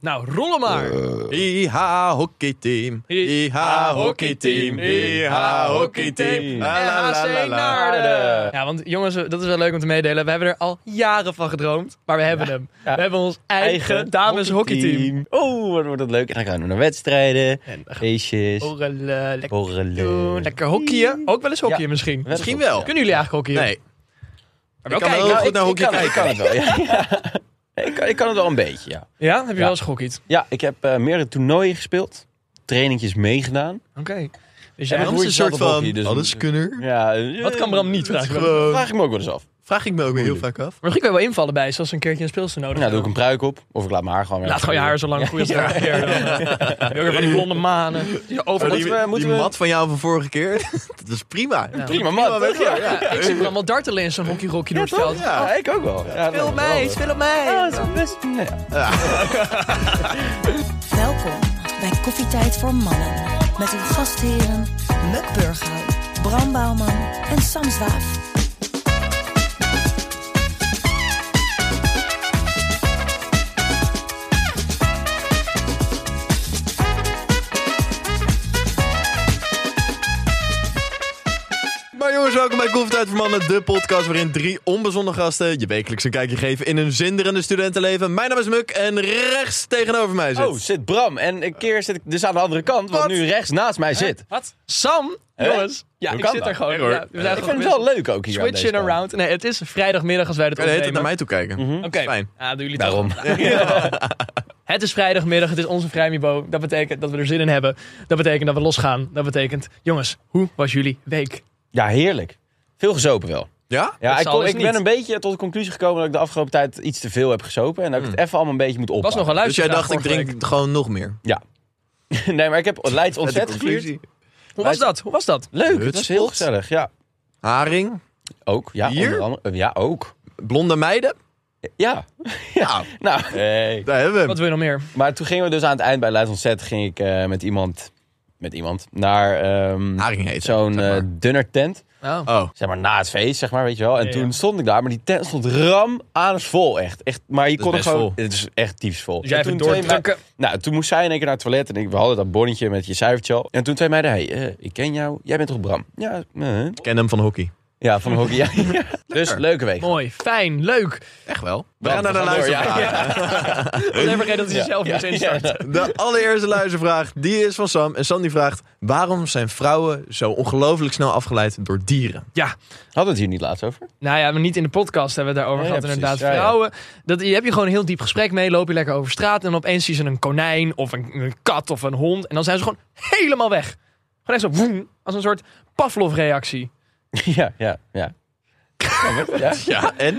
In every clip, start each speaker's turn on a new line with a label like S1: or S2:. S1: Nou, rollen maar.
S2: Eh, IH hockeyteam. IH hockeyteam. IH hockeyteam. La, la, la, la, la.
S1: Ja, want jongens, dat is wel leuk om te meedelen. We hebben er al jaren van gedroomd, maar we hebben hem. We hebben ons eigen, dames hockeyteam.
S3: Oh, wat wordt dat leuk. En dan gaan we naar wedstrijden,
S1: En we gaan
S3: feestjes,
S1: borrelen, eh, lekker doen,
S3: borrelen.
S1: lekker hockeyen. Ook wel eens hockeyen
S3: Ja.
S1: misschien.
S2: Misschien wel.
S1: Kunnen jullie eigenlijk hockeyen?
S2: Nee.
S1: Maar
S2: Ik
S1: wel
S2: kan
S1: kijken.
S2: heel
S3: Nou,
S2: goed naar
S3: ik,
S2: hockey
S3: ik kan, het- ik kan
S2: kijken.
S3: het wel, ja. Ja, ik, kan, ik kan het wel een beetje, ja.
S1: Ja, heb je
S3: Ja.
S1: wel eens gehockeyd?
S3: Ja, ik heb eh, meerdere toernooien gespeeld. Trainingjes meegedaan.
S1: Oké. Dus jij
S2: Bram is
S3: broer
S2: een
S3: is
S2: soort
S3: zelf ook
S2: van
S3: hockey, dus-
S2: alleskunner.
S3: Ja,
S1: Wat kan Bram niet
S2: Dat is
S1: vragen? Maar
S2: gewoon...
S3: Vraag ik me ook wel eens af.
S2: Vraag ik me ook weer heel vaak af.
S1: misschien kan je wel invallen bij, zoals een keertje een speelster nodig
S3: Nou, doe ik
S1: hebben.
S3: een pruik op. Of ik laat mijn haar gewoon weer
S1: Laat gewoon je haar zo lang groeien als het haar weer. Dan Heel erg van die blonde manen. Je
S2: Maar
S1: overal.
S2: die,
S3: we- moeten
S2: die
S3: we-
S2: mat van jou van vorige keer, dat was prima.
S1: Ja.
S3: Prima, man.
S2: weet je wel,
S1: Ja, ik zie Bram wel dartelen in zo'n hockeyrokje door het veld.
S2: Ja.
S3: Ja, ik ook wel. Ja, dat
S1: Speel
S3: wel
S1: op mij,
S3: wel.
S1: speel op mij.
S3: Ja, dat is best... nee, ja.
S4: Welkom bij Koffietijd voor Mannen. Met uw gastheren Muk Burghuis, Bram Bouwman en Sam Zwaaf.
S2: Maar jongens, welkom bij Koffietijd voor Mannen, de podcast waarin drie onbezonnen gasten je wekelijks een kijkje geven in hun zinderende studentenleven. Mijn naam is Muk en rechts tegenover mij zit...
S3: Oh, zit Bram. En een keer zit ik dus aan de andere kant, wat nu rechts naast mij zit.
S1: Wat? Sam?
S3: Hè?
S1: Jongens. Ja,
S3: Hoe
S1: ik
S3: kan
S1: zit
S3: dat?
S1: er gewoon.
S2: Nee, hoor.
S1: Ja, we zijn
S3: Ik
S1: gewoon
S3: vind het
S1: best-
S3: wel leuk ook hier aan
S1: Switching
S3: deze kant.
S1: around. Nee, het is vrijdagmiddag als wij dit
S2: Kan je de hele tijd
S1: opnemen.
S2: naar mij toe kijken?
S1: Oké,
S2: Fijn.
S1: Ja, doen jullie
S3: Daarom.
S1: toch. Het is vrijdagmiddag, het is onze vrijmibo. Dat betekent dat we er zin in hebben. Dat betekent dat we losgaan. Dat betekent, jongens, hoe was jullie week?
S3: Ja, heerlijk. Veel gezopen wel.
S2: Ja?
S3: Ja,
S1: Dat
S3: ik,
S1: zal
S3: kom-
S1: dus
S3: ik
S1: niet.
S3: ben een beetje tot de conclusie gekomen dat ik de afgelopen tijd iets te veel heb gesopen. En dat ik het even allemaal een beetje moet
S1: Er Hmm. was
S3: oppakken.
S1: nog een
S2: Dus jij
S1: luisteraar
S2: dacht, ik
S1: vorige
S2: drink
S1: week.
S2: gewoon nog meer.
S3: Nee, maar ik heb Leids ontzet gevierd.
S2: conclusie.
S1: Hoe was dat? Hoe was dat?
S3: Leuk, het was heel
S2: Hutspot.
S3: gezellig. Ja,
S2: Haring,
S3: ook. Ja,
S2: Bier?
S3: onder andere. Ja, ook.
S2: blonde meiden.
S3: Ja.
S2: Nou,
S3: Nou,
S2: daar hebben we hem.
S1: Wat wil je nog meer?
S3: maar toen gingen we dus aan het eind bij Leids ontzet ging ik eh, met iemand, met iemand naar ehm,
S2: Haring heet ze,
S3: zo'n
S2: zeg maar.
S3: eh, dunner tent.
S1: Oh.
S2: Oh,
S3: Zeg maar na het feest, zeg maar, weet je wel. En
S1: Ja,
S3: toen
S1: ja.
S3: stond ik daar, maar die tent stond ram aan het vol, echt. echt maar je
S2: is
S3: kon er
S2: best
S3: gewoon...
S2: vol.
S3: Het is echt diepsvol.
S1: Dus jij
S3: toen
S1: even doordrukken.
S3: Nou, toen moest zij in één keer naar het toilet. En ik, we hadden dat bonnetje met je cijfertje al. En toen zei meiden, hey, eh, ik ken jou. Jij bent toch Bram? Ja, eh.
S2: ik ken hem van hockey.
S3: ja van hockey. Ja, ja. Dus leuke week.
S1: Mooi, fijn, leuk.
S2: Echt wel. We
S3: Bram,
S2: gaan naar de
S3: we gaan door, ja.
S2: luistervraag.
S1: Alleen maar geen dat hij
S3: Ja,
S1: zelf
S3: ja,
S1: niet instart.
S3: ja.
S2: De allereerste luistervraag, die is van Sam. En Sam die vraagt, waarom zijn vrouwen zo ongelooflijk snel afgeleid door dieren?
S3: Hadden we het hier niet laatst over?
S1: Nou ja, maar niet in de podcast hebben we het daarover
S3: Nee,
S1: gehad.
S3: ja, precies.
S1: inderdaad,
S3: Ja, ja.
S1: vrouwen. Dat, je hebt je gewoon een heel diep gesprek mee. Loop je lekker over straat. En opeens zien ze een konijn of een, een kat of een hond. En dan zijn ze gewoon helemaal weg. Gewoon echt zo woem, Als een soort Pavlov-reactie.
S3: ja, ja, ja. Ja, wat? ja.
S2: Ja, en?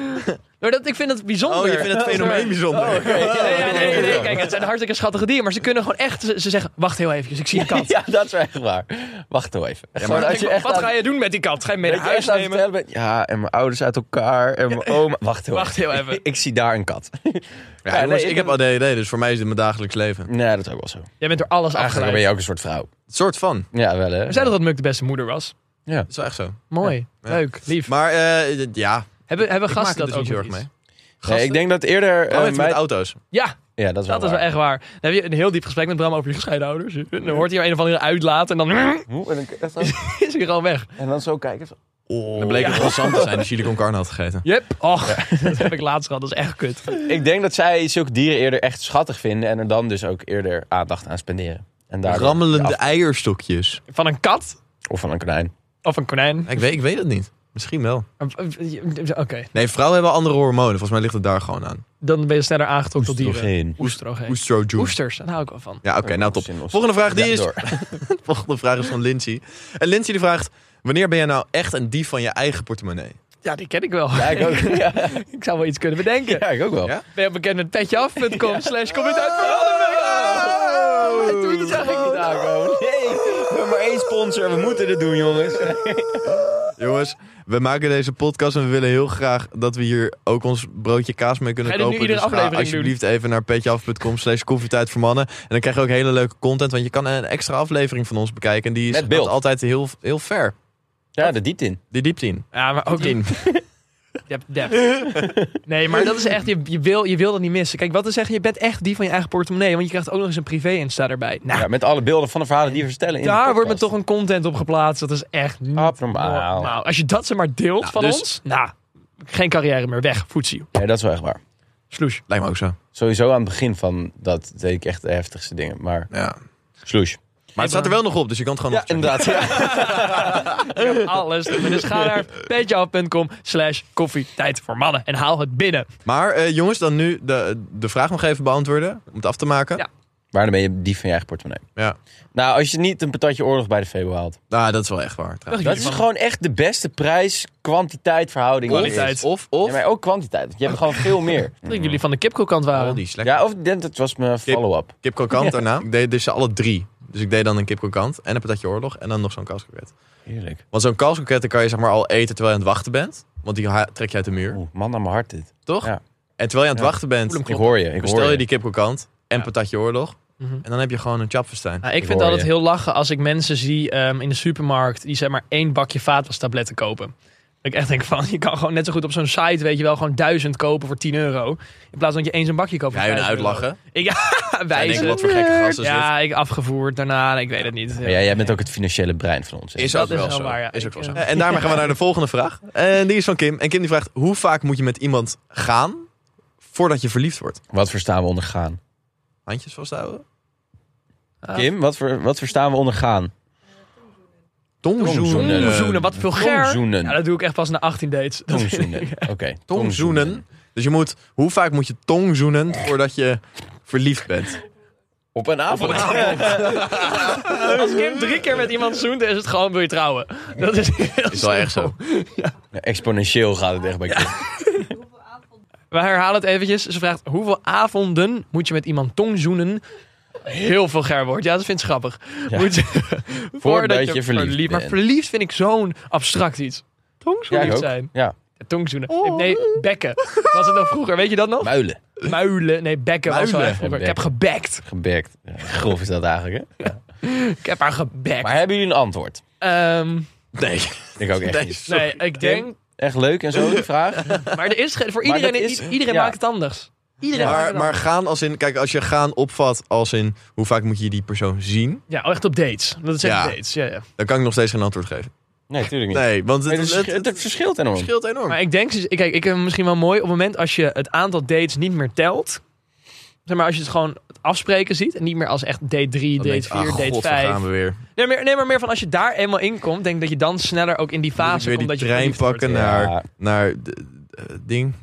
S1: Maar dat, ik vind dat bijzonder.
S2: Oh, je vindt het fenomeen bijzonder.
S1: Nee, ja, nee, nee, nee. Kijk, het zijn hartstikke schattige dieren. Maar ze kunnen gewoon echt... Ze, ze zeggen, wacht heel eventjes, ik zie een kat.
S3: Ja, dat is wel echt waar. Wacht toch even. Gewoon als je echt
S1: Wat
S3: aan-
S1: ga je doen met die kat? Ga je mee
S3: weet
S1: naar
S3: je, als
S1: huis
S3: je aan het
S1: nemen?
S3: vertellen bent, Ja, en mijn ouders uit elkaar. En mijn oma. Wacht heel
S1: Wacht heel even.
S3: Ik, ik zie daar een kat.
S2: Ja,
S3: Ja,
S2: jongens,
S3: nee,
S2: ik
S3: ik
S2: heb
S3: heb-
S2: ADD, dus voor mij is dit mijn dagelijks leven.
S3: Nee, dat is ook wel zo.
S1: Jij bent door alles
S3: Eigenlijk
S1: afgeleid.
S3: ben je ook een soort vrouw.
S2: Een soort van.
S3: Ja, wel hè.
S1: We zeiden dat Muk de beste moeder was.
S2: Dat is wel echt zo.
S1: Mooi,
S2: Ja.
S1: leuk, lief.
S2: Maar eh, ja,
S1: hebben hebben
S2: ik
S1: gasten
S2: maak er
S1: dat
S2: dus
S1: ook
S2: niet zo erg
S1: nog
S2: mee.
S1: iets?
S3: Nee, ik denk dat eerder...
S2: Oh,
S3: eh,
S2: heeft
S3: mijn-
S2: met auto's.
S1: Ja,
S3: Ja, dat is wel
S1: Dat is wel
S3: waar.
S1: echt waar. Dan heb je een heel diep gesprek met Bram over je gescheiden ouders. Dan hoort hij er een of andere uitlaat en dan
S3: Hoe? En dan, echt zo-
S1: is hij gewoon weg.
S3: en dan zo kijken. zo.
S2: Dan bleek het wel Sam te zijn die chili con carne had gegeten.
S1: Yep. Och, dat heb ik laatst gehad. Dat is echt kut.
S3: Ik denk dat zij zulke dieren eerder echt schattig vinden. En er dan dus ook eerder aandacht aan spenderen. En daardoor-
S2: Rammelende
S3: Ja,
S2: eierstokjes.
S1: Van een kat
S3: Of van een konijn.
S1: of een konijn.
S2: Ik weet, ik weet het niet. Misschien wel.
S1: Oké,
S2: Nee, vrouwen hebben andere hormonen. Volgens mij ligt het daar gewoon aan.
S1: dan ben je sneller aangetrokken tot dieren.
S3: Oestrogeen.
S1: Oestrogeen.
S2: Oestrogen.
S1: Oesters, daar hou ik wel van.
S2: Ja, oké, nou top.
S3: Zin of-
S2: Volgende vraag, die
S3: Ja,
S2: is...
S3: door.
S2: Volgende vraag is van Lindsay. En Lindsay die vraagt... Wanneer ben jij nou echt een dief van je eigen portemonnee?
S1: Ja, die ken ik wel.
S3: Ja, ik ook. Ja,
S1: Ik zou wel iets kunnen bedenken.
S3: ja, ik ook wel.
S2: Ja?
S1: Ben je bekend met petjeaf.com slash kom uit voor andere mensen?
S3: dat doe je dat zag ik niet
S1: Oh!
S3: aankomen. Nee, we hebben maar één sponsor. We moeten dit doen, jongens.
S2: Jongens, we maken deze podcast en we willen heel graag dat we hier ook ons broodje kaas mee kunnen
S1: Ga je dit nu
S2: kopen.
S1: iedere
S2: dus ga
S1: aflevering
S2: alsjeblieft even naar petjeaf.com slash koffietijd voor mannen. En dan krijg je ook hele leuke content, want je kan een extra aflevering van ons bekijken. En die is
S3: Met beeld.
S2: altijd heel, heel fair.
S3: Ja, de diepte in.
S2: Die diepte in.
S1: Ja, maar ook
S2: in.
S1: Je hebt depth. Nee, maar dat is echt, je, je, wil, je wil dat niet missen. Kijk, wat te zeggen, je bent echt die van je eigen portemonnee. Want je krijgt ook nog eens een privé-insta erbij. Nou,
S3: Ja, met alle beelden van de verhalen die we vertellen. In de
S1: daar wordt me
S3: podcast.
S1: toch een content op geplaatst. Dat is echt
S3: Ah,
S1: niet Nou.
S3: Abnormaal.
S1: normaal. Als je dat ze maar deelt van
S3: dus-
S1: ons. Nou, geen carrière meer. Weg. Voetsie.
S3: Nee, dat is wel echt waar.
S1: Sloes.
S2: Lijkt me ook zo.
S3: Sowieso aan het begin van dat deed ik echt de heftigste dingen. Maar
S2: Ja.
S3: sloes.
S2: Maar het staat er wel nog op, dus je kan het gewoon
S3: Ja,
S2: nog checken.
S3: inderdaad. Ja.
S1: Ik heb alles. Dus ga naar petjeaf.com slash koffietijd voor mannen. En haal het binnen.
S2: Maar eh, jongens, dan nu de, de vraag nog even beantwoorden. Om het af te maken.
S1: Ja.
S3: Waarom ben je dief van je eigen portemonnee?
S2: Ja.
S3: Nou, als je niet een patatje oorlog bij de Febo haalt.
S2: Nou, dat is wel echt waar. trouwens.
S3: Dat is gewoon echt de beste prijs-kwantiteit verhouding. die er is.
S1: Kwaliteit.
S2: Of, of.
S3: Ja, maar ook kwantiteit. Want je hebt gewoon veel meer.
S1: Dat jullie van de kipkoelkant waren.
S2: Oh, die is lekker.
S3: Ja, of ik denk dat was mijn follow-up.
S2: Kip krokant daarna. Ik deed dus ze alle drie. Dus ik deed dan een kip krokant en een patatje oorlog en dan nog zo'n kalfskroket.
S3: Heerlijk.
S2: Want zo'n kalfskroket dan kan je zeg maar al eten terwijl je aan het wachten bent. Want die ha- trek je uit de muur,
S3: Oeh, man naar mijn hart dit.
S2: toch?
S3: Ja.
S2: En terwijl je aan het
S3: Ja.
S2: wachten bent,
S3: Ik hoor je. Ik
S2: bestel
S3: hoor
S2: je
S3: je.
S2: die kip krokant en
S1: Ja.
S2: patatje oorlog.
S1: Mhm.
S2: En dan heb je gewoon een chapfestijn.
S1: Nou, ik
S3: Ik
S1: vind
S3: hoor
S1: altijd
S3: je.
S1: heel lachen als ik mensen zie ehm, in de supermarkt die zeg maar één bakje vaatwastabletten kopen. Dat ik echt denk van, je kan gewoon net zo goed op zo'n site, weet je wel, gewoon duizend kopen voor 10 euro. In plaats van dat je eens een bakje koopt voor
S2: Ga je hun
S1: 5 euro.
S2: uitlachen?
S1: Ik, ja,
S2: Zij denken,
S1: wijzen.
S2: wat voor gekke gasten is dit?
S1: Ja, ik afgevoerd daarna, ik weet het niet.
S3: Maar ja, jij bent ook het financiële brein van ons. hè?
S2: Is
S1: dat
S2: ook
S1: is
S2: wel
S1: wel
S2: zo.
S1: waar, ja.
S2: Is ook wel
S1: Ik,
S2: zo.
S1: eh,
S2: En daarmee gaan we naar de volgende vraag. En die is van Kim. En Kim die vraagt, hoe vaak moet je met iemand gaan voordat je verliefd wordt?
S3: Wat verstaan we onder gaan?
S2: Handjes vasthouden?
S1: Ah.
S3: Kim, wat, voor, wat verstaan we onder gaan?
S2: Tongzoenen.
S3: Tongzoenen.
S1: Tongzoenen, wat vulgair.
S3: Tongzoenen.
S1: Ja, dat doe ik echt pas na 18 dates. Dat-
S3: Tongzoenen. Oké.
S2: Tongzoenen. Dus je moet, hoe vaak moet je tong zoenen voordat je verliefd bent?
S3: Op een avond.
S1: Als Kim drie keer met iemand zoent, is het gewoon wil je trouwen. Dat is, dat
S2: Is wel echt zo.
S3: Ja, Exponentieel gaat het echt bij Kim.
S1: We herhalen het eventjes. Ze vraagt, hoeveel avonden moet je met iemand tong zoenen? Heel veel gerwoord. Ja, dat vindt ze grappig.
S3: Ja.
S1: Moet je,
S3: Voordat je verliefd
S1: Maar
S3: bent.
S1: verliefd vind ik zo'n abstract iets.
S3: Ja, ik
S1: Tongzoenen
S3: ook.
S1: zijn.
S3: Ja.
S1: Tongzoenen. Nee, bekken. Was het nog vroeger? Weet je dat nog?
S3: Muilen.
S1: Muilen. Nee, bekken was wel
S2: Muilen.
S1: echt vroeger.
S3: Ja,
S1: Ik heb gebekt.
S3: Geberkt. Ja, grof is dat eigenlijk, hè?
S1: Ik heb haar gebekt.
S3: Maar hebben jullie een antwoord?
S1: Ehm,
S2: Nee.
S3: Ik ook echt
S2: Nee,
S3: niet.
S1: nee, ik denk...
S3: Echt leuk en zo, die vraag.
S1: Maar er is ge- voor
S3: Maar
S1: iedereen,
S3: dat is-
S1: iedereen
S3: ja.
S1: maakt het anders. Iedereen maakt
S2: Maar,
S1: het
S2: maar
S1: anders.
S2: gaan als in, kijk, als je gaan opvat als in, hoe vaak moet je die persoon zien?
S1: Ja, oh, echt op dates. Dat is echt
S2: Ja.
S1: dates. Ja, ja.
S2: Dan kan ik nog steeds geen antwoord geven.
S3: Nee, tuurlijk niet.
S2: Nee, want
S3: Nee,
S2: het,
S3: het,
S2: het,
S3: verschilt-
S2: het
S3: het verschilt enorm.
S2: scheelt enorm.
S1: Maar ik denk, kijk, ik heb misschien wel mooi op het moment als je het aantal dates niet meer telt. Zeg maar als je het gewoon het afspreken ziet en niet meer als echt date 3,
S2: Dan
S1: date
S2: denk
S1: 4,
S2: ik, ah,
S1: date
S2: god, daar
S1: 5.
S2: gaan we weer.
S1: Nee, meer, nee, maar meer van als je daar eenmaal in komt, denk dat je dan sneller ook in die
S2: Moet
S1: fase
S2: ik weer die
S1: komt dat je
S2: trein
S1: verliefd wordt.
S2: pakken
S3: wordt.
S2: naar,
S3: Ja.
S2: naar de- eh, ding.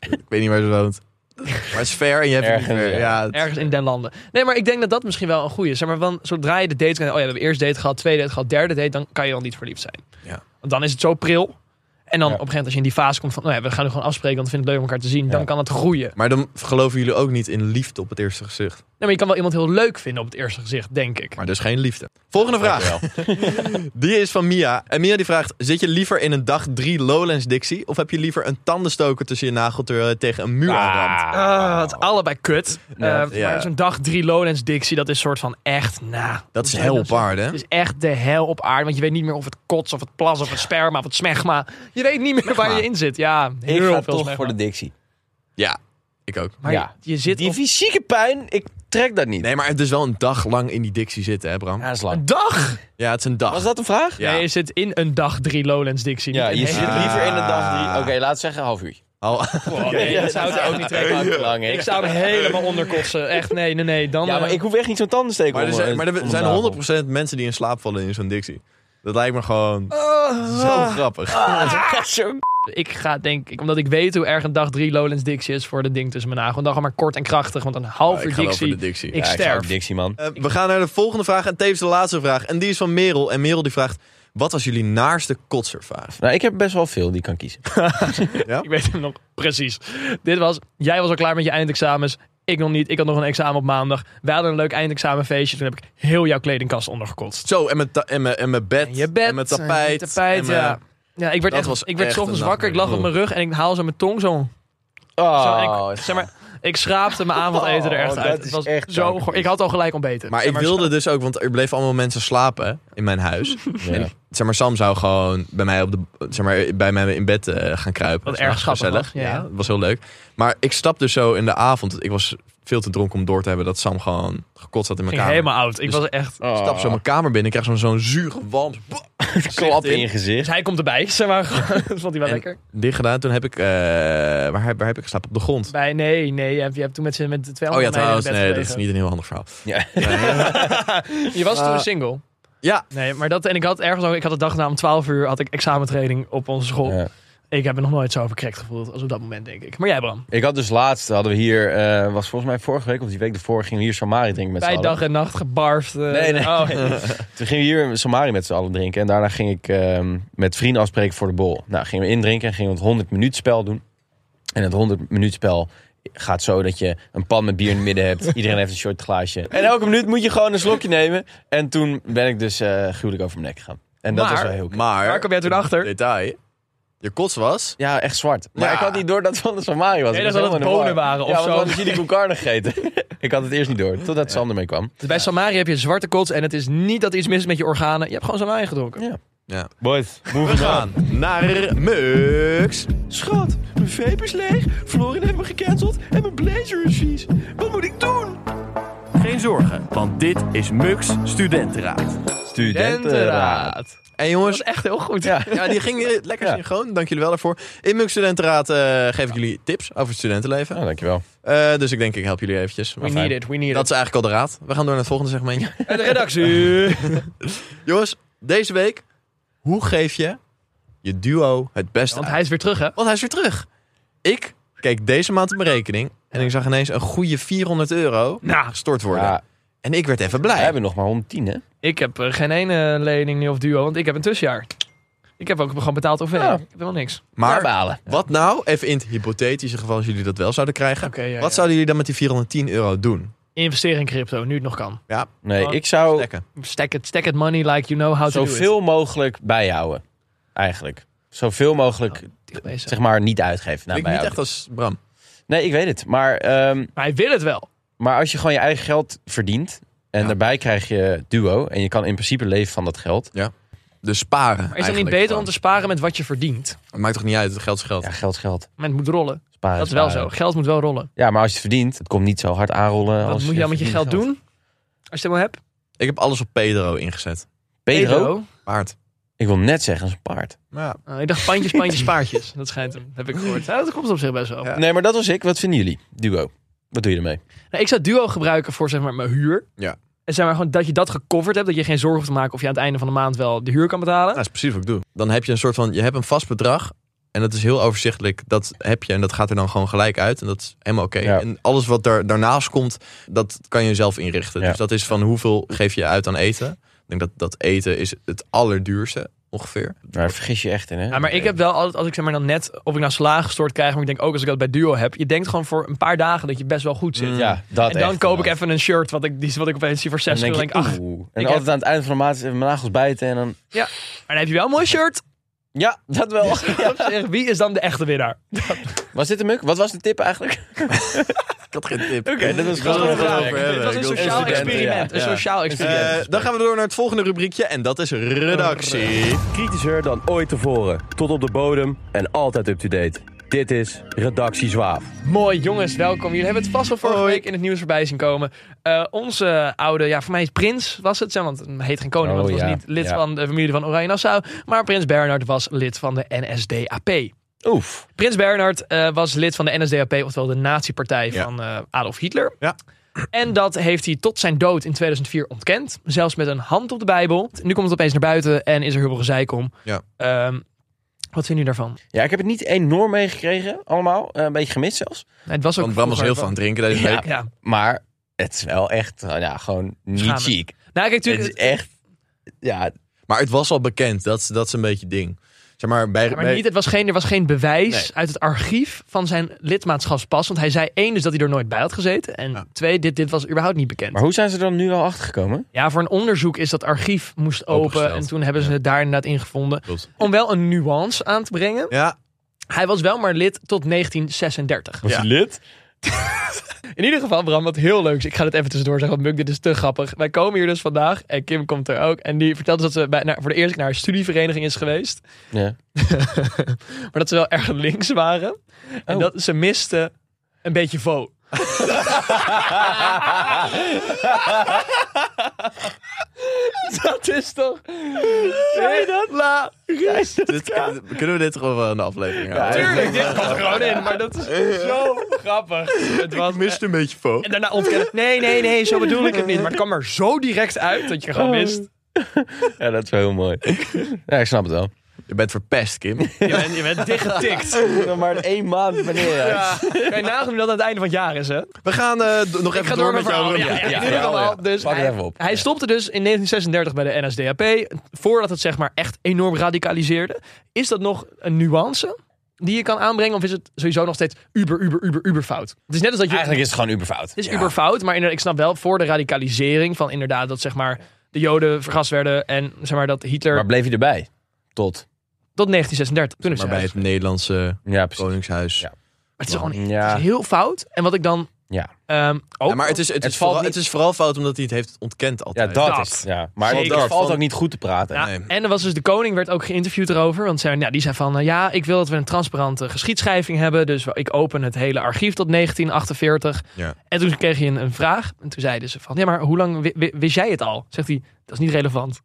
S2: ik weet niet waar ze woont. Maar het is ver en je hebt het niet
S3: Ergens,
S2: meer.
S3: ja.
S2: Ja, het-
S1: Ergens in den landen. Nee, maar ik denk dat dat misschien wel een goede is. Zeg maar, want zodra je de dates kan, oh ja, we hebben eerst date gehad, tweede date gehad, derde date, dan kan je dan niet verliefd zijn.
S2: Ja.
S1: Want dan is het zo pril. En dan
S3: Ja.
S1: op een gegeven moment als je in die fase komt van, nou ja, we gaan nu gewoon afspreken, want we vinden het leuk om elkaar te zien,
S3: Ja.
S1: dan kan het groeien.
S2: Maar dan geloven jullie ook niet in liefde op het eerste gezicht.
S1: Nee, maar je kan wel iemand heel leuk vinden op het eerste gezicht, denk ik.
S2: Maar dus geen liefde. Volgende vraag. Die is van Mia. En Mia die vraagt, zit je liever in een dag 3 Lowlands Dixie... of heb je liever een tandenstoker tussen je nagelteuren tegen een muur aanramt?
S1: Ah, het is allebei kut.
S3: Ja.
S1: Eh,
S2: Ja.
S1: Maar zo'n dag drie Lowlands Dixie, dat is soort van echt, nou...
S2: Dat is heel op aarde, hè?
S1: Het is echt de hel op aarde, want je weet niet meer of het kots of het plas of het sperma of het smegma. Je weet niet meer waar je in zit. Ja,
S3: Ik
S1: heel
S3: ga
S1: veel
S3: toch
S1: smegma.
S3: voor de Dixie.
S2: Ja, ik ook.
S1: Maar
S3: Ja.
S1: je, je zit
S3: Die
S1: op
S3: fysieke pijn, ik trek dat niet.
S2: Nee, maar het is wel een dag lang in die Dixie zitten, hè Bram?
S3: Ja, dat is lang.
S1: een dag.
S2: Ja, het is een dag.
S3: Was dat een vraag?
S2: Ja.
S1: Nee, je zit in een dag drie Lowlands Dixie.
S3: Ja,
S1: niet
S3: je
S1: een
S3: zit
S1: hele-
S3: liever in de dag die... Oké, laat zeggen een half uur.
S2: Al-
S1: nee, dat zou ik ook niet trekken.
S3: Lang, hè?
S1: Ik zou hem helemaal onderkotsen. Echt, nee, nee, nee. Dan,
S3: Ja, maar
S1: eh,
S3: ik hoef echt niet zo'n tandensteker
S2: maar er
S3: onder-
S2: zijn, maar er
S3: onder
S2: zijn
S3: tafel.
S2: 100% mensen die in slaap vallen in zo'n Dixie. Dat lijkt me gewoon zo
S3: Ah.
S2: grappig.
S3: Ah, zo-
S1: Ik ga denk ik, omdat ik weet hoe erg een dag drie Lowlands Dixie is voor de ding tussen mijn nagel. Dan gewoon maar kort en krachtig, want een half
S2: Ja, ik
S1: uur
S2: ga wel voor
S1: Dixie.
S2: de Dixie.
S1: Ik
S3: Ja, ik ga
S1: sterf.
S3: ook Dixie, man.
S2: Eh, we gaan naar de volgende vraag en tevens de laatste vraag. En die is van Merel. En Merel die vraagt, wat was jullie naarste kotservaas?
S3: Nou, ik heb best wel veel die ik kan kiezen.
S1: Ik weet hem nog precies. Dit was, jij was al klaar met je eindexamens. Ik nog niet. Ik had nog een examen op maandag. We hadden een leuk eindexamenfeestje. Toen heb ik heel jouw kledingkast ondergekotst.
S2: Zo, en mijn, ta- en mijn, en mijn bed.
S1: En je bed.
S2: En mijn tapijt.
S1: en je tapijt,
S2: en mijn-
S1: ja. Ja, ik werd,
S2: Dat
S1: echt,
S2: was
S1: ik werd
S2: echt
S1: 's ochtends
S2: een
S1: wakker. Ik lag op mijn rug en ik haal zo mijn tong zo. zo en
S3: Oh,
S1: ik, zeg maar, ik schraapte mijn avondeten er echt
S3: Oh, dat
S1: uit. Het
S3: is
S1: was
S3: echt
S1: zo
S3: dank.
S1: goor. Ik had al gelijk ontbeten.
S2: Maar
S1: Zeg
S2: ik wilde dus ook, want er bleven allemaal mensen slapen hè, in mijn huis.
S3: ja.
S2: Zeg maar, Sam zou gewoon bij mij, op de, zeg maar, bij mij in bed eh, gaan kruipen.
S1: Wat
S2: Dat was
S1: erg schattig
S2: gezellig.
S1: was,
S2: Ja,
S1: ja.
S2: dat was heel leuk. Maar ik stap dus zo in de avond. Ik was veel te dronken om door te hebben dat Sam gewoon gekotst had in mijn
S1: ging
S2: kamer.
S1: helemaal oud. Ik
S2: Dus-
S1: was echt...
S3: Oh.
S2: Ik stap zo mijn kamer binnen. Ik krijg zo'n zo'n zuur walm.
S3: klap in je
S2: in.
S1: Dus
S3: gezicht.
S1: hij komt erbij, zeg maar. dat vond hij wel
S2: En-
S1: lekker.
S2: Dit gedaan. Toen heb ik... eh, waar, heb- waar heb ik geslapen? Op de grond.
S1: Bij, nee, nee. Je hebt, je hebt toen met, z'n- met de twee
S2: Oh ja,
S1: andere meiden
S2: trouwens.
S1: in
S2: Nee,
S1: bed
S2: dat is
S1: gelegen.
S2: niet een heel handig verhaal.
S3: Ja.
S1: Je was
S2: Eh,
S1: toen single.
S2: Ja,
S1: Nee, maar dat... En ik had ergens ook... Ik had de dag na om 12 uur had ik examentraining op onze school.
S3: Ja.
S1: Ik heb me nog nooit zo verkrekt gevoeld als op dat moment, denk ik. Maar jij, Bram.
S3: Ik had dus laatst, hadden we hier, eh, was volgens mij vorige week of die week ervoor, gingen we hier Samari drinken met z'n
S1: Bij
S3: allen.
S1: dag en nacht gebarfd. eh,
S3: Nee, nee.
S1: oh.
S3: Toen gingen we hier Samari met z'n allen drinken. En daarna ging ik ehm, met vrienden afspreken voor de bol. Nou, gingen we indrinken en gingen we het 100 minuut spel doen. En het 100 minuut spel gaat zo dat je een pan met bier in het midden hebt. Iedereen heeft een short glaasje. En elke minuut moet je gewoon een slokje nemen. En toen ben ik dus eh gruwelijk over mijn nek gegaan. En dat
S1: Maar-
S3: was wel heel knap.
S2: maar...
S1: Waar kwam jij toen achter?
S2: Detail. Je kots was...
S3: Ja, echt zwart. Maar
S2: Ja.
S3: ik had niet door dat het van de Samari was.
S1: Nee,
S3: Ik
S1: dat
S3: was
S1: dat het
S3: helemaal in
S1: bonen
S3: de war.
S1: waren
S3: Ja,
S1: of
S3: want we
S1: zo.
S3: hadden chili con carne gegeten. ik had het eerst niet door, totdat Sander mee kwam.
S1: Dus bij Samari heb je zwarte kots en het is niet dat er iets mis is met je organen. Je hebt gewoon Samari gedronken.
S3: Boys,
S2: We gaan naar Mux.
S3: Schat, mijn vape is leeg, Florin heeft me gecanceld en mijn blazer is vies. Wat moet ik doen?
S2: Geen zorgen, want dit is Mux Studentenraad.
S3: Studentenraad.
S2: En
S1: Dat
S2: jongens,
S1: is echt heel goed.
S3: Ja.
S2: ja, die ging eh, lekker
S3: Ja.
S2: synchroon. Dank jullie wel daarvoor. In Mux Studentenraad eh, geef ik jullie tips over het studentenleven.
S3: Oh, dankjewel.
S2: Eh, dus ik denk, ik help jullie eventjes.
S1: We
S2: Maar
S1: need
S2: fijn.
S1: it, we need
S2: Dat is eigenlijk al de raad. We gaan door naar het volgende segmentje.
S1: it. De redactie.
S2: jongens, deze week, hoe geef je je duo het beste
S1: Want
S2: uit?
S1: hij is weer terug, hè?
S2: Want hij is weer terug. Ik keek deze maand op mijn rekening en ik zag ineens een goede 400 euro gestort worden.
S3: Ja,
S2: En ik werd even
S3: Nou, we
S2: blij.
S3: hebben nog maar 110, hè?
S1: Ik heb eh, geen ene lening nu of duo, want ik heb een tussenjaar. Ik heb ook gewoon betaald OV.
S3: Ja.
S1: Ik heb helemaal niks.
S2: Maar
S3: balen.
S2: Wat nou, even in het hypothetische geval, als jullie dat wel zouden krijgen.
S1: Oké, ja,
S2: Wat
S1: ja.
S2: zouden jullie dan met die 410 euro doen?
S1: Investeer in crypto, nu het nog kan.
S3: Nee,
S1: Oh,
S3: ik zou
S2: Stekken.
S1: Stack it, stack it money like you know how to do it.
S3: zoveel mogelijk bijhouden. Eigenlijk. Zoveel mogelijk,
S1: Dicht bezig.
S3: zeg maar, niet uitgeven. Nou,
S2: Oh, ik niet echt
S3: bijhouden.
S2: als dus. Bram.
S3: Nee, ik weet het. Maar, ehm,
S1: Maar hij wil het wel.
S3: maar als je gewoon je eigen geld verdient... en
S2: Ja.
S3: daarbij krijg je duo... en je kan in principe leven van dat geld...
S2: Dus sparen.
S1: Maar is het niet beter om te sparen met wat je verdient?
S2: Het maakt toch niet uit, het geld is geld.
S3: Ja, geld is geld.
S1: Maar het moet rollen.
S3: Sparen,
S1: Dat is wel zo.
S3: sparen.
S1: Geld moet wel rollen.
S3: Ja, maar als je het verdient, het komt niet zo hard aanrollen.
S1: Wat
S3: als
S1: moet je dan met je
S3: verdient
S1: geld doen? Als je het wel hebt?
S2: Ik heb alles op Pedro ingezet.
S3: Pedro?
S2: Paard. Nou,
S3: Ik wil net zeggen, dat is een paard.
S2: Ja.
S1: Oh, ik dacht pandjes, pandjes, paardjes. Dat schijnt hem, heb ik gehoord. Ja, dat komt op zich best wel.
S2: Ja.
S3: Nee, maar dat was ik. Wat vinden jullie? Duo. Wat doe je ermee?
S1: Nou, ik zou Duo gebruiken voor zeg maar mijn huur.
S2: Ja.
S1: En zeg maar gewoon dat je dat gecoverd hebt. Dat je geen zorgen hoeft te maken of je aan het einde van de maand wel de huur kan betalen.
S2: Dat is precies wat ik doe. Dan heb je een soort van, je hebt een vast bedrag. En dat is heel overzichtelijk. Dat heb je en dat gaat er dan gewoon gelijk uit. En dat is helemaal oké.
S3: Ja.
S2: En alles wat daar, daarnaast komt, dat kan je zelf inrichten.
S3: Ja.
S2: Dus dat is van hoeveel geef je uit aan eten. Ik denk dat, dat eten is het allerduurste ongeveer.
S3: Daar vergis je echt in, hè?
S1: Ja, maar ik heb wel altijd, als ik zeg maar dan net, of ik nou slaag gestort krijg, maar ik denk ook als ik dat bij Duo heb, je denkt gewoon voor een paar dagen dat je best wel goed zit.
S3: Mm, Ja, dat
S1: en dan
S3: echt,
S1: koop ik
S3: inderdaad.
S1: even een shirt wat ik, die, wat ik opeens zie voor
S3: En
S1: 6 euro.
S3: dan
S1: Dan
S3: denk
S1: denk ik,
S3: je,
S1: ach, maar
S3: oeh. En
S1: ik
S3: altijd
S1: heb-
S3: aan het einde van de maand even mijn nagels bijten en dan...
S1: dan heb je wel een mooi shirt.
S3: Ja, dat wel. Ja.
S1: Op zich, Wie is dan de echte winnaar?
S3: Was dit een muk? Wat was de tip eigenlijk?
S2: Ik had geen tip.
S3: Oké, dat was
S2: wil
S3: gewoon
S2: het
S3: een
S2: erover
S3: vraag.
S2: hebben.
S1: Het was een
S2: Ik wil
S1: sociaal
S3: studenten,
S1: experiment.
S3: ja.
S1: Een
S3: Ja.
S1: sociaal experiment.
S2: Eh, dan gaan we door naar het volgende rubriekje en dat is redactie.
S5: Kritischer dan ooit tevoren. Tot op de bodem en altijd up-to-date. Dit is Redactie Zwaaf.
S1: Mooi jongens, welkom. Jullie hebben het vast wel vorige
S2: Hoi.
S1: week in het nieuws voorbij zien komen. Eh, onze oude, ja voor mij is Prins was het, zeg, want het heet geen koning,
S3: Oh,
S1: want hij was
S3: ja.
S1: niet lid
S3: Ja.
S1: van de familie van Oranje Nassau. Maar Prins Bernhard was lid van de NSDAP.
S3: Oef.
S1: Prins Bernhard eh, was lid van de NSDAP, oftewel de nazi-partij
S2: Ja.
S1: van eh, Adolf Hitler.
S2: Ja.
S1: En dat heeft hij tot zijn dood in 2004 ontkend. Zelfs met een hand op de Bijbel. Nu komt het opeens naar buiten en is er heel veel gezeik om.
S2: Ja.
S1: Ehm, wat vind je daarvan?
S3: Ja, ik heb het niet enorm meegekregen, allemaal. Eh, Een beetje gemist zelfs.
S1: Nee, het was ook
S2: Want Bram was heel
S1: vroeger-
S2: van drinken deze week.
S1: Ja.
S3: Maar het is wel echt, eh, ja, gewoon niet
S1: Schamend.
S3: chic.
S1: Nou, kijk,
S3: Het
S1: natuurlijk,
S3: is echt, ja,
S2: Maar het was al bekend, dat, is- dat is een beetje het ding. Zeg maar, bij,
S1: Ja, maar
S2: bij-
S1: niet, het was geen, er was geen bewijs
S2: Nee.
S1: uit het archief van zijn lidmaatschapspas. Want hij zei één dus dat hij er nooit bij had gezeten. En twee, dit, dit was überhaupt niet bekend.
S3: Maar hoe zijn ze er dan nu wel achter gekomen?
S1: Ja, voor een onderzoek is dat archief moest open.
S2: Opengesteld.
S1: En toen hebben ze het daar inderdaad ingevonden.
S2: Klopt.
S1: Om wel een nuance aan te brengen.
S2: Ja,
S1: Hij was wel maar lid tot 1936.
S3: Was
S2: Ja.
S3: hij lid?
S1: In ieder geval, Bram, wat heel leuks. Ik ga dit even tussendoor zeggen, want Muk, dit is te grappig. Wij komen hier dus vandaag en Kim komt er ook. En die vertelt ons dat ze bij, nou, voor de eerste keer naar haar studievereniging is geweest.
S3: Ja.
S1: Maar dat ze wel erg links waren. En dat ze misten een beetje vo. dat is toch... Zie je dat? La, grijs dat
S2: dit, kunnen we dit gewoon wel in de aflevering houden?
S1: Tuurlijk, dit komt er gewoon in, maar dat is zo grappig. Het was
S2: Ik miste een beetje fo.
S1: En daarna ontkennen. Nee, nee, nee, zo bedoel ik het niet. Maar het kwam er zo direct uit dat je gewoon wist.
S3: Ja, dat is wel heel mooi. ja, ik snap het wel.
S2: Je bent verpest, Kim.
S1: Je bent, je bent dichtgetikt.
S3: maar één maand wanneer.
S1: Ja. Kan je nagaan hoe dat aan het einde van het jaar is, hè?
S2: We gaan eh, d- nog
S1: Ik ga
S2: even
S1: door
S2: door
S1: mijn
S2: met
S1: verhaal.
S2: jouw
S1: Ja, ja,
S2: rubriek.
S1: ja, in
S3: ja,
S1: ieder
S3: ja,
S1: geval.
S3: ja.
S1: Dus
S3: Pak het
S1: hij,
S3: even op.
S1: hij stopte dus in 1936 bij de NSDAP. Voordat het zeg maar echt enorm radicaliseerde. Is dat nog een nuance die je kan aanbrengen? Of is het sowieso nog steeds uber, uber, uber, uber fout? Het is net als dat je...
S3: Eigenlijk is het gewoon uberfout.
S1: Het is uber fout, maar inderdaad, ik snap wel voor de radicalisering van inderdaad dat zeg maar de Joden vergast werden en zeg maar dat Hitler
S3: Maar bleef hij erbij? Tot.
S1: tot 1936. Toen is
S2: Maar
S1: hij
S2: bij het Nederlandse
S3: Ja, precies.
S2: Koningshuis.
S3: Ja.
S1: Maar het is gewoon het
S3: Ja.
S1: is heel fout. En wat ik dan
S3: Ja.
S1: ehm, ook...
S2: Ja, maar het is, Oh. het,
S3: Het
S2: is
S3: valt
S2: vooral,
S3: niet-
S2: het is vooral fout omdat hij het heeft ontkend
S3: Ja,
S2: altijd.
S3: dat,
S1: Dat.
S3: is. Ja. Maar
S2: Zeker.
S3: het valt
S2: Van-
S3: ook niet goed te praten.
S1: Ja,
S2: nee.
S1: En er was dus de koning werd ook geïnterviewd erover. Want zij, nou, die zei van, eh, ja, ik wil dat we een transparante geschiedschrijving hebben. Dus ik open het hele archief tot 1948.
S2: Ja.
S1: En toen kreeg je een, een vraag. En toen zeiden ze van, ja, maar hoe lang wi- wi- wist jij het al? Zegt hij, dat is niet relevant.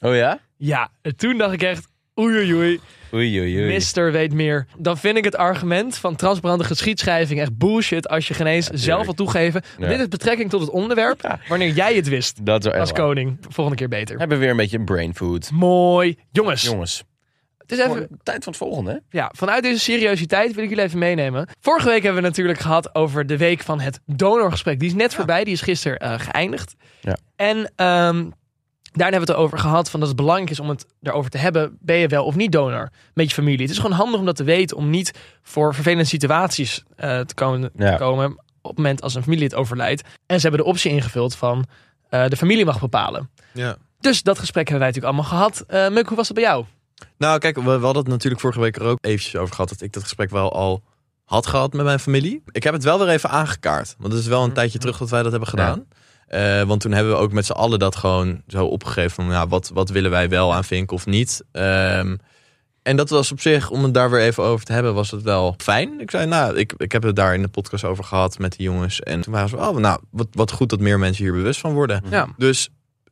S3: Oh ja?
S1: Ja, en toen dacht ik echt, oei oei oei.
S3: Oei, oei, oei.
S1: Mister weet meer. Dan vind ik het argument van transparante geschiedschrijving echt bullshit als je geen eens zelf wil toegeven.
S3: Ja.
S1: Dit is betrekking tot het onderwerp wanneer jij het wist.
S3: Dat is wel
S1: Als
S3: echt waar.
S1: koning. Volgende keer beter.
S3: Hebben we weer een beetje brain food.
S1: Mooi. Jongens,
S3: Jongens,
S1: het is even,
S3: gewoon tijd van het volgende. hè?
S1: ja, vanuit deze seriositeit wil ik jullie even meenemen. Vorige week hebben we natuurlijk gehad over de week van het donorgesprek. Die is net voorbij, die is gisteren eh, geëindigd.
S3: Ja.
S1: En ehm daar hebben we het over gehad van dat het belangrijk is om het erover te hebben. Ben je wel of niet donor met je familie? Het is gewoon handig om dat te weten. Om niet voor vervelende situaties eh, te komen, te
S3: Ja.
S1: komen op het moment als een familielid overlijdt. En ze hebben de optie ingevuld van eh, de familie mag bepalen.
S2: Ja.
S1: Dus dat gesprek hebben wij natuurlijk allemaal gehad. Eh Muk, hoe was dat bij jou?
S2: Nou, kijk, we, we hadden het natuurlijk vorige week er ook eventjes over gehad. Dat ik dat gesprek wel al had gehad met mijn familie. Ik heb het wel weer even aangekaart. Want het is wel een tijdje terug dat wij dat hebben gedaan. Eh, want toen hebben we ook met z'n allen dat gewoon zo opgegeven. Van, ja, wat, wat willen wij wel aan vinken of niet? Ehm, en dat was op zich, om het daar weer even over te hebben, was het wel fijn. Ik zei, nou, ik, ik heb het daar in de podcast over gehad met die jongens. En toen waren ze, oh, nou, wat, wat goed dat meer mensen hier bewust van worden.
S3: Mhm.
S1: Ja.
S2: Dus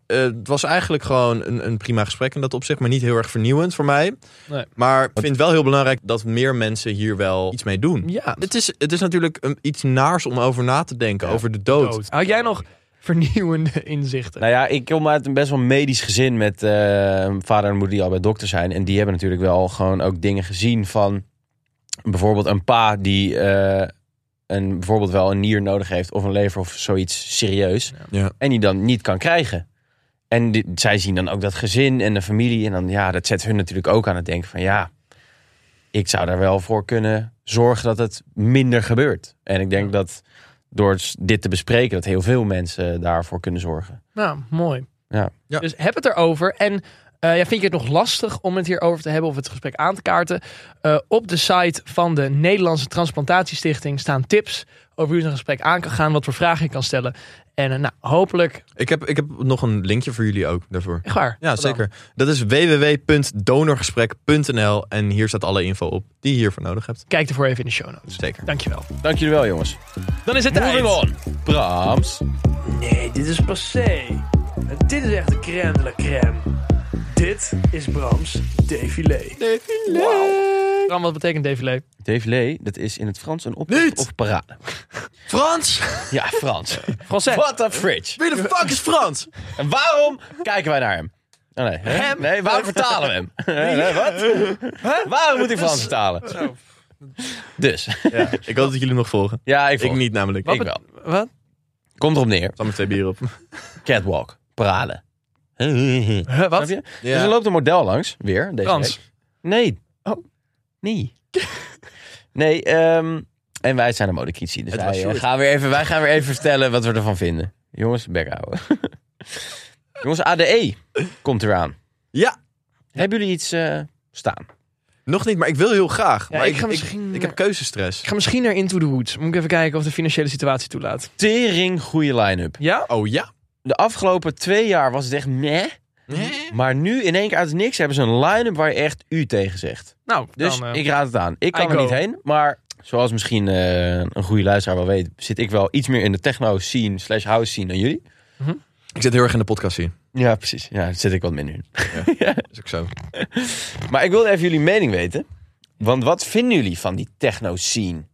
S2: eh, het was eigenlijk gewoon een, een prima gesprek in dat opzicht, maar niet heel erg vernieuwend voor mij.
S1: Nee.
S2: Maar ik vind het wel heel belangrijk dat meer mensen hier wel iets mee doen.
S1: Ja,
S2: Het is, het is natuurlijk een, iets naars om over na te denken, over de dood.
S1: Had jij nog vernieuwende inzichten?
S3: Nou ja, ik kom uit een best wel medisch gezin met eh, vader en moeder die al bij dokter zijn. En die hebben natuurlijk wel gewoon ook dingen gezien van bijvoorbeeld een pa die eh, een, bijvoorbeeld wel een nier nodig heeft of een lever of zoiets serieus.
S2: Ja.
S3: En die dan niet kan krijgen. En die- zij zien dan ook dat gezin en de familie. En dan ja, dat zet hun natuurlijk ook aan het denken van ja, ik zou daar wel voor kunnen zorgen dat het minder gebeurt. En ik denk dat door dit te bespreken, dat heel veel mensen daarvoor kunnen zorgen.
S1: Nou, mooi.
S3: Ja.
S2: Ja.
S1: Dus heb het erover. En eh, ja, vind je het nog lastig om het hierover te hebben of het gesprek aan te kaarten? Eh, op de site van de Nederlandse Transplantatiestichting staan tips over hoe je zo'n gesprek aan kan gaan, wat voor vragen je kan stellen. En eh, nou, hopelijk,
S2: Ik, heb, ik heb nog een linkje voor jullie ook daarvoor.
S1: echt waar.
S2: Ja, zeker. Dat is www.donorgesprek.nl en hier staat alle info op die je hiervoor nodig hebt.
S1: Kijk ervoor even in de show notes.
S2: Zeker.
S1: Dankjewel.
S3: Dank jullie wel, jongens.
S1: Dan is het tijd.
S3: Brahms.
S1: Nee, dit is passé. En dit is echt de crème de la crème. Dit is Brams défilé. Défilé. Bram, wat betekent défilé?
S3: Défilé, dat is in het Frans een optocht
S2: Niet!
S3: of parade.
S2: Frans!
S3: Ja, Frans.
S1: Français.
S3: What a fridge.
S2: Wie de fuck is Frans?
S3: En waarom kijken wij naar hem? Oh, nee. hè?
S1: Hem?
S3: nee, waarom vertalen we hem? Nee, wat? Waarom moet hij Frans vertalen? Dus,
S2: Ik hoop dat jullie nog volgen.
S3: ja, ik,
S2: Ik
S3: niet.
S2: niet namelijk.
S3: Ik
S2: Ik
S3: wel.
S1: Wat?
S3: Komt erop neer.
S2: sta met twee bieren op.
S3: Catwalk. Parade.
S1: Huh,
S3: Snap
S1: wat?
S3: je? Dus er loopt een model langs, weer, deze
S1: Frans.
S3: week. Nee, Oh, nee. nee, ehm, en wij zijn de modekritici. Dus
S2: Het was
S3: wij, eh,
S2: short.
S3: gaan weer even, wij gaan weer even vertellen wat we ervan vinden. Jongens, bek houden. Jongens, ADE komt eraan.
S2: Ja.
S3: Hebben jullie iets eh, staan?
S2: Nog niet, maar ik wil heel graag.
S1: Ja,
S2: maar
S1: ik ga misschien-
S2: ik, heb keuzestress.
S1: Ik ga misschien naar Into the Woods. Moet ik even kijken of de financiële situatie toelaat.
S3: Tering goede line-up.
S1: Ja?
S2: Oh ja?
S3: De afgelopen twee jaar was het echt meh. Maar nu in één keer uit het niks hebben ze een line-up waar je echt u tegen zegt.
S1: Nou,
S3: Dus
S1: dan, eh,
S3: ik raad het aan. Ik kan
S1: I
S3: er
S1: go.
S3: niet heen, maar zoals misschien eh, een goede luisteraar wel weet, zit ik wel iets meer in de techno-scene slash house-scene dan jullie.
S2: Ik zit heel erg in de podcast zien.
S3: Ja, precies. Ja, daar zit ik wat minder in.
S2: Dat is ook zo.
S3: Maar ik wilde even jullie mening weten. Want wat vinden jullie van die techno-scene?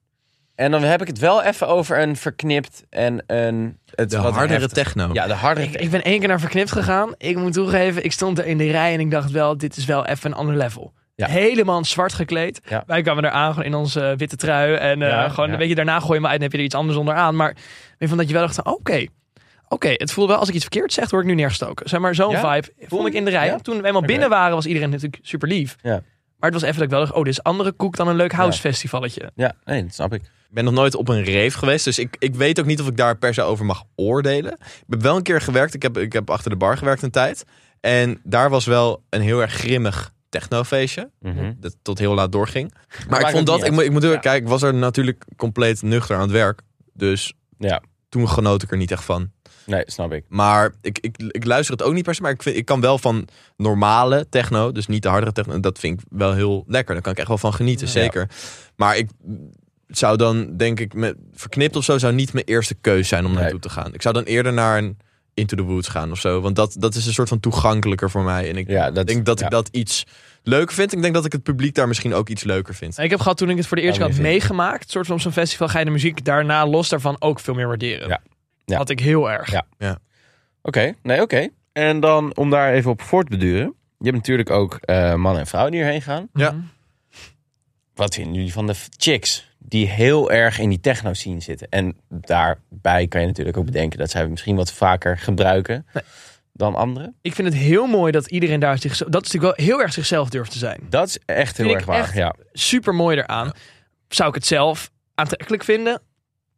S3: En dan heb ik het wel even over een verknipt en een... Het
S2: De
S3: wat
S2: hardere
S3: heftig-
S2: techno.
S3: Ja, de hardere
S1: ik, ik ben één keer naar Verknipt gegaan. Ik moet toegeven, ik stond er in de rij en ik dacht wel, dit is wel even een ander level.
S3: Ja.
S1: Helemaal in zwart gekleed.
S3: Ja.
S1: Wij kwamen er aan gewoon in onze eh, witte trui. En eh,
S3: Ja,
S1: gewoon,
S3: ja.
S1: weet je, daarna gooi je me uit en heb je er iets anders onderaan. Maar weet van dat je wel dacht, oké. Oké, het voelde wel als ik iets verkeerd zeg, word ik nu neergestoken. Zeg maar, zo'n
S3: Ja?
S1: vibe vond ik in de rij.
S3: Ja?
S1: Toen we eenmaal
S3: Oké.
S1: binnen waren, was iedereen natuurlijk super lief.
S3: Ja.
S1: Maar het was even dat ik wel dacht, oh, dit is andere koek dan een leuk housefestivalletje.
S3: Ja, nee, dat snap ik.
S2: Ik ben nog nooit op een rave geweest, dus ik, ik weet ook niet of ik daar per se over mag oordelen. Ik heb wel een keer gewerkt, ik heb, ik heb achter de bar gewerkt een tijd. En daar was wel een heel erg grimmig technofeestje,
S3: Mhm.
S2: dat tot heel laat doorging. Maar ik
S3: maakt
S2: vond
S3: ook
S2: dat,
S3: niet
S2: ik, moet- ik moet eerlijk kijken, ik was er natuurlijk compleet nuchter aan het werk. Dus
S3: Ja.
S2: toen genoot ik er niet echt van.
S3: Nee, snap ik.
S2: Maar ik, ik, ik luister het ook niet per se, maar ik, vind, ik kan wel van normale techno, dus niet de hardere techno, dat vind ik wel heel lekker. Daar kan ik echt wel van genieten, zeker. Maar ik zou dan, denk ik, met, verknipt of zo zou niet mijn eerste keus zijn om
S3: Nee.
S2: naartoe te gaan. Ik zou dan eerder naar een Into the Woods gaan of zo, want dat, dat is een soort van toegankelijker voor mij. En ik
S3: Ja, dat,
S2: denk dat
S3: ja.
S2: ik dat iets leuker vind. Ik denk dat ik het publiek daar misschien ook iets leuker vind.
S1: Ik heb gehad toen ik het voor de eerste
S3: Oh,
S1: keer had
S3: nee,
S1: meegemaakt. soort van op zo'n festival ga je de muziek daarna los daarvan ook veel meer waarderen.
S3: Ja. Ja.
S1: Had ik heel erg.
S3: Ja. Oké, nee, oké. En dan om daar even op voort te beduren. Je hebt natuurlijk ook eh man en vrouw die hierheen gaan.
S2: Ja.
S1: Mhm.
S3: Wat vinden jullie van de f- chicks die heel erg in die techno scene zitten? En daarbij kan je natuurlijk ook bedenken dat zij het misschien wat vaker gebruiken dan anderen.
S1: Ik vind het heel mooi dat iedereen daar zichzelf... Dat is natuurlijk wel heel erg zichzelf durft te zijn.
S3: Dat is echt heel
S1: Vind
S3: erg
S1: ik
S3: waar.
S1: echt-
S3: Ja.
S1: Super mooi eraan. Zou ik het zelf aantrekkelijk vinden?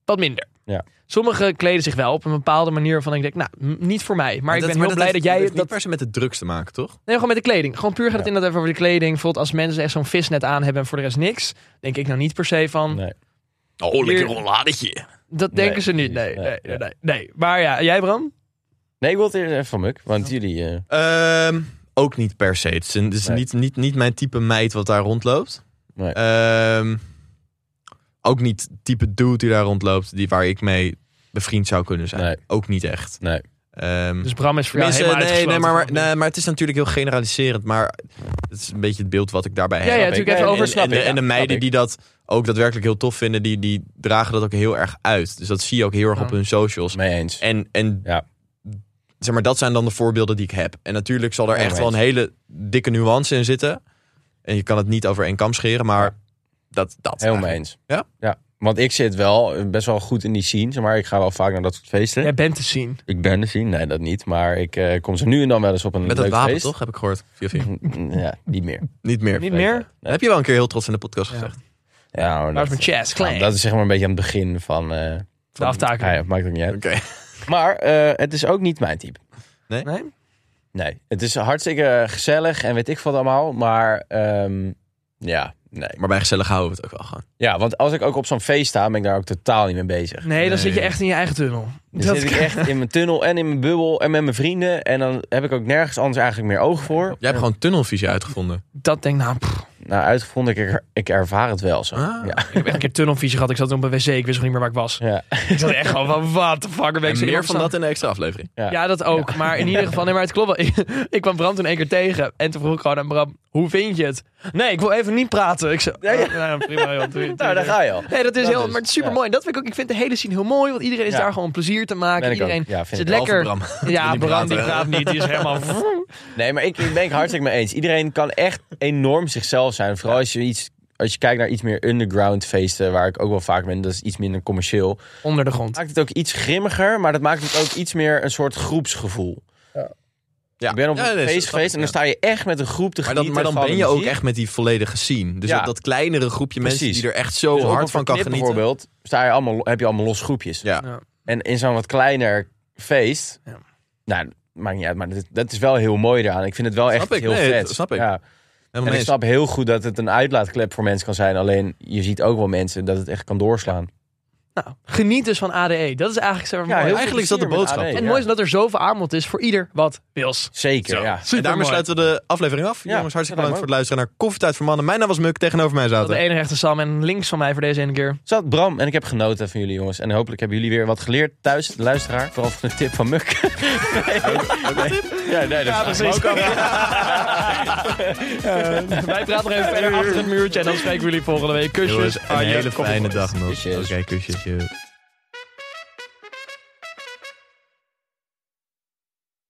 S1: Wat minder.
S3: Ja.
S1: Sommigen kleden zich wel op een bepaalde manier van ik denk, nou, m- niet voor mij. Maar, ik ben heel blij dat, jij...
S2: dat
S1: Dat,
S2: niet per se met de drugs te maken, toch?
S1: nee, gewoon met de kleding. Gewoon puur gaat het
S3: Ja.
S1: inderdaad even over de kleding. Bijvoorbeeld als mensen echt zo'n visnet aan hebben en voor de rest niks. Denk ik nou niet per se van...
S3: Nee.
S2: Oh,
S1: lekker
S2: rolladetje.
S1: Dat
S3: Nee,
S1: denken ze niet. Nee,
S3: precies.
S1: nee,
S3: Nee,
S1: nee, nee, Maar ja, jij Bram?
S3: Nee, ik wil het eerder even van Muk. Want jullie... eh,
S2: Ehm, ook niet per se. Het is, een- het is
S3: Nee.
S2: niet, niet, niet mijn type meid wat daar rondloopt.
S3: Nee.
S2: Ehm, ook niet type dude die daar rondloopt, die waar ik mee bevriend zou kunnen zijn.
S3: Nee.
S2: Ook niet echt.
S3: nee. Hm.
S2: Ehm,
S1: Dus Bram is voor jou
S2: tenminste,
S1: helemaal
S2: nee, nee,
S1: uitgesloten
S2: maar, maar,
S1: van-
S2: nee, maar het is natuurlijk heel generaliserend, maar het is een beetje het beeld wat ik daarbij
S1: ja,
S2: heb.
S1: ja,
S3: ik.
S1: natuurlijk even
S3: Nee,
S1: over.
S3: nee, snap
S2: en, de,
S3: ik,
S2: en de
S3: ja, snap
S2: meiden
S3: ik.
S2: die dat ook daadwerkelijk heel tof vinden, die, die dragen dat ook heel erg uit. Dus dat zie je ook heel erg op
S1: Ja.
S2: hun socials.
S3: Mee eens.
S2: En, en
S3: Ja.
S2: zeg maar, dat zijn dan de voorbeelden die ik heb. En natuurlijk zal er
S3: Ja,
S2: echt
S3: maar
S2: wel een
S3: eens.
S2: hele dikke nuance in zitten. En je kan het niet over één kam scheren, maar
S3: Ja.
S2: dat, dat.
S3: Helemaal
S2: eigenlijk.
S3: eens.
S2: Ja?
S3: ja. Want ik zit wel eh, best wel goed in die scene. zeg Maar ik ga wel vaak naar dat soort feesten.
S1: Jij bent te zien.
S3: Ik ben er zien, nee dat niet. Maar ik eh, kom ze nu en dan wel eens op een
S2: Met
S3: leuk
S2: dat wapen,
S3: feest.
S2: toch? Heb ik gehoord. Via via.
S3: Mm, Ja, niet meer.
S2: Niet meer.
S1: Niet meer?
S2: Dat heb je wel een keer heel trots in de podcast gezegd.
S3: Ja, maar
S1: Waar is
S3: Nou, dat,
S1: mijn chest?
S3: ja,
S1: Klein.
S3: dat is zeg maar een beetje aan het begin van... eh
S1: de aftakeling.
S3: ja, maakt ook niet uit.
S2: Oké.
S3: Maar eh, het is ook niet mijn type.
S1: Nee?
S3: Nee, het is hartstikke gezellig en weet ik wat allemaal. Maar ehm, ja, nee.
S2: Maar bij gezellig houden we het ook wel gewoon.
S3: Ja, want als ik ook op zo'n feest sta, ben ik daar ook totaal niet mee bezig.
S1: Nee, dan
S2: Nee.
S1: zit je echt in je eigen tunnel.
S3: Dan
S1: Dat
S3: zit ik echt in mijn tunnel en in mijn bubbel en met mijn vrienden. En dan heb ik ook nergens anders eigenlijk meer oog voor.
S2: Jij hebt gewoon tunnelvisie uitgevonden.
S1: dat denk ik, nou, pff,
S3: Nou, uitgevonden, ik, er- ik ervaar het wel zo.
S2: Ah.
S3: Ja.
S1: ik heb echt een keer tunnelvisie gehad. Ik zat op een wc, ik wist nog niet meer waar ik was.
S3: Ja.
S1: Ik zat echt gewoon van, what the fuck, ben ik
S2: En
S1: zo
S2: meer
S1: hier
S2: van dat in de extra aflevering.
S1: Ja, dat ook. Maar in ieder geval, nee, maar het klopt wel. Ik, ik kwam Bram toen één keer tegen. En toen vroeg ik gewoon aan Bram, hoe vind je het? Nee, ik wil even niet praten. Ik zei,
S3: Ja, ja.
S1: "Oh, nou, prima joh. doe je- doe
S3: Nou,
S1: je
S3: daar ga je al.
S1: Nee, dat is
S3: Dat
S1: heel,
S3: is-
S1: maar het is super mooi. Dat vind ik ook. Ik vind de hele scene heel mooi, want iedereen is
S3: Ja.
S1: daar gewoon om plezier te maken.
S3: Ben ik ook.
S1: iedereen
S3: Ja, vind
S1: zit
S3: ik.
S1: lekker.
S2: Behalve Bram.
S1: Ja,
S2: Die niet
S1: Bram die
S2: praten.
S1: praat niet. Die is helemaal.
S3: Nee, maar ik, ik ben het hartstikke mee eens. Iedereen kan echt enorm zichzelf zijn. Vooral als je iets. Als je kijkt naar iets meer underground feesten, waar ik ook wel vaak ben, dat is iets minder commercieel.
S1: onder de grond.
S3: Maakt het ook iets grimmiger, maar dat maakt het ook iets meer een soort groepsgevoel.
S2: Ja.
S3: Ik ben op
S2: Ja,
S3: een
S2: nee,
S3: feest
S2: snap ik,
S3: geweest en dan
S2: ja.
S3: sta je echt met een groep te
S2: Maar dan,
S3: genieten
S2: maar dan
S3: van de
S2: ben je ook
S3: muziek.
S2: echt met die volledige scene. Dus
S3: Ja.
S2: dat, dat kleinere groepje
S3: Precies.
S2: mensen die er echt zo
S3: Dus ook
S2: hard
S3: op
S2: van
S3: een
S2: kan
S3: knip
S2: genieten.
S3: bijvoorbeeld sta je allemaal, heb je allemaal los groepjes.
S2: Ja.
S1: Ja.
S3: En in zo'n wat kleiner feest...
S1: Ja.
S3: Nou, maakt niet uit, maar dat, dat is wel heel mooi eraan. Ik vind het wel echt
S2: ik,
S3: heel
S2: nee,
S3: vet.
S2: dat snap ik.
S3: Ja.
S2: Helemaal
S3: En
S2: mee
S3: ik
S2: eens.
S3: snap heel goed dat het een uitlaatklep voor mensen kan zijn. Alleen je ziet ook wel mensen dat het echt kan doorslaan.
S1: Nou, geniet dus van ADE. Dat is eigenlijk zeg maar mooi.
S3: heel
S2: eigenlijk is
S3: veel
S2: dat de
S3: plezier met
S2: boodschap.
S3: AD,
S1: En
S3: ja.
S1: mooi is dat er zoveel aanbod is voor ieder wat wils.
S3: Zeker, ja.
S2: En daarmee sluiten we de aflevering af.
S3: Ja,
S2: Jongens, hartstikke
S3: dat lijkt
S2: bedankt voor
S3: me
S2: het luisteren naar Koffietijd voor Mannen. Mijn naam was Muk, tegenover mij
S1: Dat de
S2: zaten.
S1: ene rechter Sam en links van mij voor deze ene keer.
S3: Zat Bram en ik heb genoten van jullie jongens. En hopelijk hebben jullie weer wat geleerd thuis, de luisteraar. Vooral van de tip van Muk. Ja, nee, dat is
S1: Wij praten nog even verder achter het muurtje en dan spreken we jullie volgende week. Kusjes.
S2: Jongens, een
S1: aan je
S2: hele
S1: koffie.
S2: fijne dag nog. Oké,
S3: Ah, Kusjes.
S2: kusjes. joh.